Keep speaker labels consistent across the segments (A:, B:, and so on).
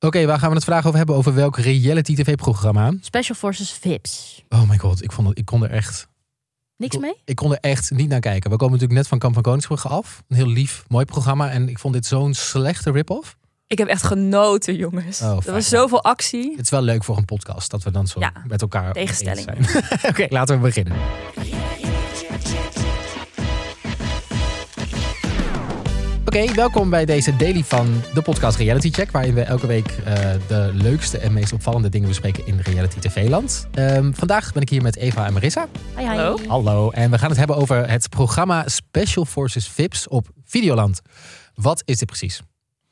A: Oké, waar gaan we het vraag over hebben? Over welk reality tv-programma?
B: Special Forces Vips.
A: Oh my god, ik, vond dat, ik kon er echt
B: Niks
A: Cool.
B: mee?
A: Ik kon er echt niet naar kijken. We komen natuurlijk net van Kamp van Koningsbrugge af. Een heel lief, mooi programma. En ik vond dit zo'n slechte rip-off.
C: Ik heb echt genoten, jongens.
A: Oh,
C: er
A: fijn.
C: was zoveel actie.
A: Het is wel leuk voor een podcast dat we dan zo
C: Ja,
A: met elkaar
C: tegenstelling.
A: eens zijn. Oké, laten we beginnen. Oké, welkom bij deze daily van de podcast Reality Check, waarin we elke week eh, de leukste en meest opvallende dingen bespreken in reality tv-land. Ehm, vandaag ben ik hier met Eva en Marissa.
B: Hi, hi.
C: Hallo?
A: Hallo, en we gaan het hebben over het programma Special Forces VIPS op Videoland. Wat is dit precies?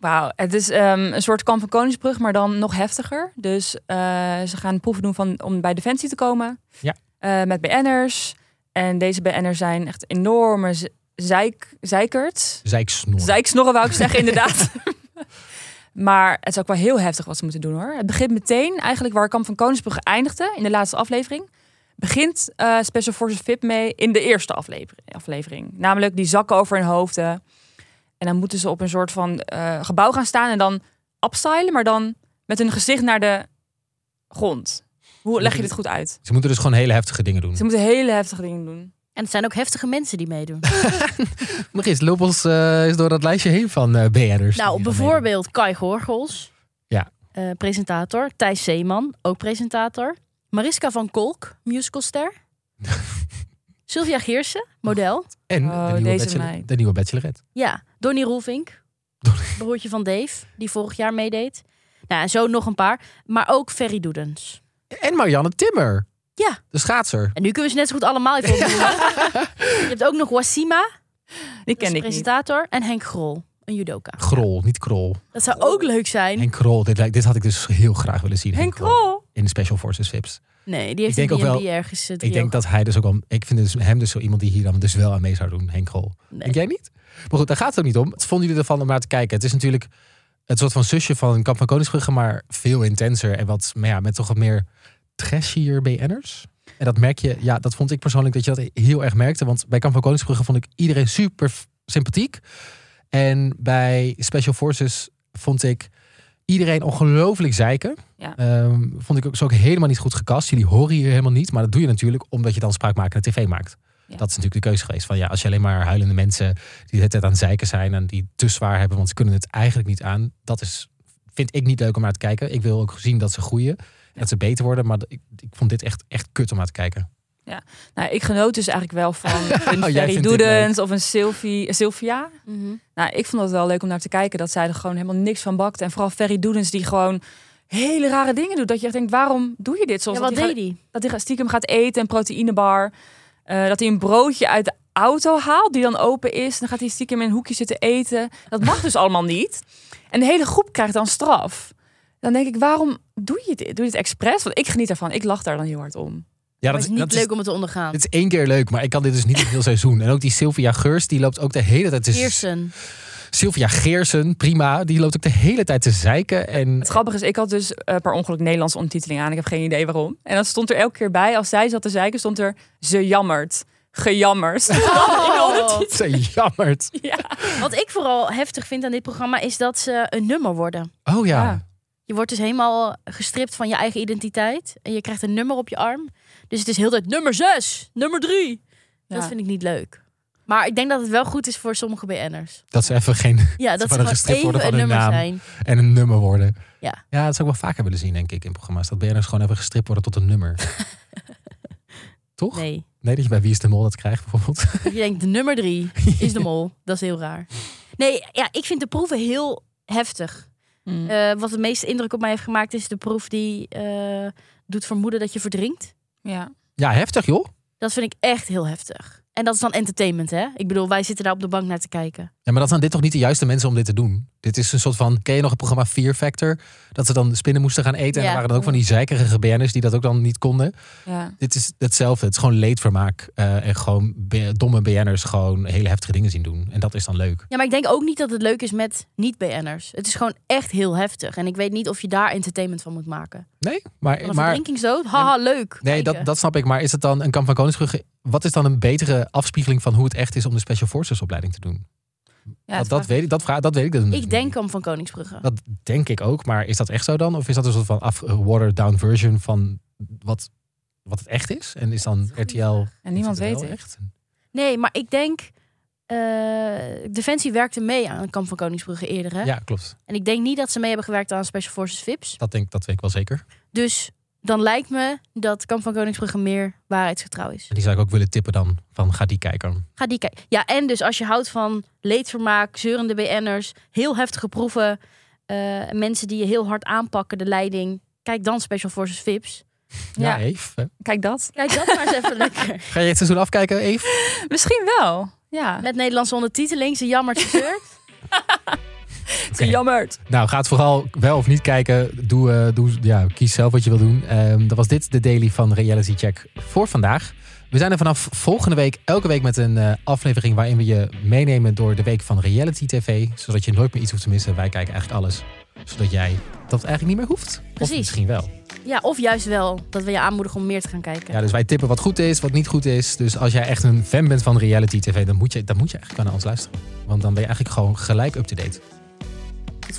C: Wauw, het is ehm, een soort kamp van Koningsbrug, maar dan nog heftiger. Dus eh, ze gaan proeven doen van, om bij Defensie te komen.
A: Ja.
C: Eh, met BN'ers. En deze BN'ers zijn echt enorme z- zeik, zeikert.
A: Dus Zijksnor.
C: Zeiksnorren wou ik zeggen, inderdaad. maar het is ook wel heel heftig wat ze moeten doen hoor. Het begint meteen, eigenlijk waar Kamp van Koningsbrug eindigde in de laatste aflevering. Begint eh, Special Forces VIP mee in de eerste aflevering, aflevering. Namelijk die zakken over hun hoofden. En dan moeten ze op een soort van eh, gebouw gaan staan en dan upstylen, maar dan met hun gezicht naar de grond. Hoe leg je dit goed uit?
A: Ze moeten dus gewoon hele heftige dingen doen.
C: Ze moeten hele heftige dingen doen.
B: En het zijn ook heftige mensen die meedoen.
A: Margis, loop ons eh, eens door dat lijstje heen van eh BN'ers. die
B: nou,
A: hier aan
B: bijvoorbeeld Kai Gorgels.
A: Ja.
B: Eh, presentator. Thijs Zeeman, ook presentator. Mariska van Kolk, musicalster. Sylvia Geersen, model.
A: meedoen. En
C: Oh,
A: de, nieuwe
C: deze
A: bachelor,
C: meid.
A: de nieuwe Bachelorette.
B: Ja, Donnie Roelvink. Broertje van Dave, die vorig jaar meedeed. Nou, en zo nog een paar. Maar ook Ferry Doedens.
A: En Marianne Timmer.
B: Ja.
A: De schaatser.
B: En nu kunnen we ze net zo goed allemaal even opnoemen. Je hebt ook nog Wassima,
C: Die
B: dat is
C: ken
B: een
C: ik niet.
B: presentator. En Henk Grol, een judoka.
A: Grol, niet Krol.
B: Dat zou ook leuk zijn.
A: Henk Krol, dit, lijkt- dit had ik dus heel graag willen zien.
C: Henk Krol.
A: In Special Forces VIPs.
B: Nee, die heeft
A: Ik denk
B: een
A: ook wel-
B: B&B ergens. eh,
A: Ik denk
B: driehoog.
A: dat hij dus ook wel... Ik vind dus hem dus zo iemand die hier dan dus wel aan mee zou doen. Henk Krol.
B: Nee.
A: Denk jij niet? Maar goed, daar gaat het ook niet om. Wat vonden jullie ervan om naar te kijken? Het is natuurlijk het soort van zusje van Kamp van Koningsbrugge, maar veel intenser en wat, maar ja, met toch wat meer trashier BN'ers. En dat merk je, ja, dat vond ik persoonlijk dat je dat heel erg merkte. Want bij Kamp van Koningsbrugge vond ik iedereen super f- sympathiek. En bij Special Forces vond ik iedereen ongelooflijk zeiken.
C: Ja.
A: Ehm, vond ik ook, ze ook helemaal niet goed gekast. Jullie horen hier helemaal niet, maar dat doe je natuurlijk omdat je dan spraakmakende tv maakt.
C: Ja.
A: Dat is natuurlijk de keuze geweest. Van ja, als je alleen maar huilende mensen die de hele tijd aan het zeiken zijn en die het te zwaar hebben, want ze kunnen het eigenlijk niet aan. Dat is, vind ik niet leuk om naar te kijken. Ik wil ook zien dat ze groeien, en dat ze beter worden. Maar ik, ik vond dit echt, echt kut om naar te kijken.
C: Nou, ik genoot dus eigenlijk wel van een
A: Oh, jij
C: Ferry
A: vindt dit
C: Doedens of een Sylvie, een Sylvia.
B: Mhm.
C: Nou, ik vond het wel leuk om naar te kijken dat zij er gewoon helemaal niks van bakte. En vooral Ferry Doedens die gewoon hele rare dingen doet. Dat je echt denkt, waarom doe je dit? Zoals
B: Ja, wat
C: dat, hij
B: deed hij?
C: gaat- dat hij gaat- stiekem gaat eten, een proteïnebar. Eh, dat hij een broodje uit de auto haalt die dan open is. Dan gaat hij stiekem in een hoekje zitten eten. Dat mag dus allemaal niet. En de hele groep krijgt dan straf. Dan denk ik, waarom doe je dit? Doe je dit expres? Want ik geniet ervan. Ik lach daar dan heel hard om.
A: Ja,
B: Maar het is niet
A: dat
B: leuk om het te ondergaan.
A: Het is één keer leuk, maar ik kan dit dus niet het heel seizoen. En ook die Sylvia Geurs, die loopt ook de hele tijd... te-
B: Geersen.
A: Sylvia Geersen, prima. Die loopt ook de hele tijd te zeiken. En
C: Het grappige is, ik had dus eh, per ongeluk Nederlandse ondertiteling aan. Ik heb geen idee waarom. En dan stond er elke keer bij, als zij zat te zeiken, stond er ze jammert. Gejammerd.
B: Oh.
A: ze jammert.
C: ja.
A: Oh.
B: Wat ik vooral heftig vind aan dit programma is dat ze een nummer worden.
A: Oh ja.
C: Ja.
B: Je wordt dus helemaal gestript van je eigen identiteit. En je krijgt een nummer op je arm. Dus het is heel de tijd nummer 6, nummer 3. Dat
C: Ja.
B: vind ik niet leuk. Maar ik denk dat het wel goed is voor sommige BN'ers.
A: Dat ze even geen...
B: Ja,
A: worden
B: dat ze
A: gestript
B: gewoon
A: worden van
B: even
A: hun
B: een nummer
A: naam.
B: zijn.
A: En een nummer worden.
B: Ja.
A: Ja, dat zou ik wel vaker willen zien, denk ik, in programma's. Dat BN'ers gewoon even gestript worden tot een nummer. Toch? Nee.
B: Nee.
A: dat je bij Wie is de Mol dat krijgt, bijvoorbeeld.
B: Je denkt, de nummer drie is de mol. Dat is heel raar. Nee, ja, ik vind de proeven heel heftig.
C: Mm.
B: Eh, wat de meeste indruk op mij heeft gemaakt is de proef die eh, doet vermoeden dat je verdrinkt.
C: ja.
A: Ja, heftig, joh.
B: Dat vind ik echt heel heftig. En dat is dan entertainment, hè? Ik bedoel, wij zitten daar op de bank naar te kijken.
A: Ja, maar dat zijn dit toch niet de juiste mensen om dit te doen? Dit is een soort van, ken je nog het programma Fear Factor? Dat ze dan spinnen moesten gaan eten. En
B: Ja.
A: er waren dan ook van die zeikerige BN'ers die dat ook dan niet konden.
C: ja.
A: Dit is hetzelfde. Het is gewoon leedvermaak. eh, en gewoon be- domme BN'ers gewoon hele heftige dingen zien doen. En dat is dan leuk.
B: Ja, maar ik denk ook niet dat het leuk is met niet-BN'ers. Het is gewoon echt heel heftig. En ik weet niet of je daar entertainment van moet maken.
A: Nee,
B: Van
A: maar,
B: een
A: maar
B: verdrinkingsdood? Haha, leuk.
A: Nee,
B: Kijken.
A: dat, dat snap ik. Maar is het dan een kamp van Koningsbrugge? Wat is dan een betere afspiegeling van hoe het echt is om de Special Forces opleiding te doen?
C: Ja,
A: dat,
C: het
A: dat,
C: vraagt-
A: weet ik, dat, vraag, dat weet ik. Dat
B: Ik denk hem van Koningsbrugge.
A: Dat denk ik ook, maar is dat echt zo dan? Of is dat een soort van af, watered down version van wat, wat het echt is? En is dan
B: goede
A: RTL...
C: En niemand
A: is het
C: weet
A: wel
C: het.
A: echt?
B: Nee, maar ik denk... eh, Defensie werkte mee aan Kamp van Koningsbrugge eerder. Hè?
A: Ja, klopt.
B: En ik denk niet dat ze mee hebben gewerkt aan Special Forces VIPs.
A: Dat, denk, dat weet ik wel zeker.
B: Dus dan lijkt me dat Kamp van Koningsbrugge meer waarheidsgetrouw is.
A: En die zou ik ook willen tippen dan, van ga die kijken.
B: Ga die kijken. Ja, en dus als je houdt van leedvermaak, zeurende BN'ers, heel heftige proeven, eh, mensen die je heel hard aanpakken, de leiding. Kijk dan Special Forces VIPs.
A: Ja,
C: Ja.
A: Eve.
C: Kijk dat.
B: Kijk dat maar eens even lekker.
A: Ga je het seizoen afkijken, Eve?
C: Misschien wel. Ja.
B: Met Nederlandse ondertiteling, ze jammert, ze zeurt.
A: Oké.
C: Jammerd.
A: Nou, ga het vooral wel of niet kijken. Doe, eh, doe, ja, kies zelf wat je wil doen. Ehm dat was dit, de daily van Reality Check voor vandaag. We zijn er vanaf volgende week elke week met een eh, aflevering... waarin we je meenemen door de week van Reality TV. Zodat je nooit meer iets hoeft te missen. Wij kijken eigenlijk alles. Zodat jij dat eigenlijk niet meer hoeft. Of
B: Precies.
A: misschien wel.
B: Ja, of juist wel dat we je aanmoedigen om meer te gaan kijken.
A: Ja, dus wij tippen wat goed is, wat niet goed is. Dus als jij echt een fan bent van Reality TV... dan moet je, dan moet je eigenlijk wel naar ons luisteren. Want dan ben je eigenlijk gewoon gelijk up-to-date.
B: Tot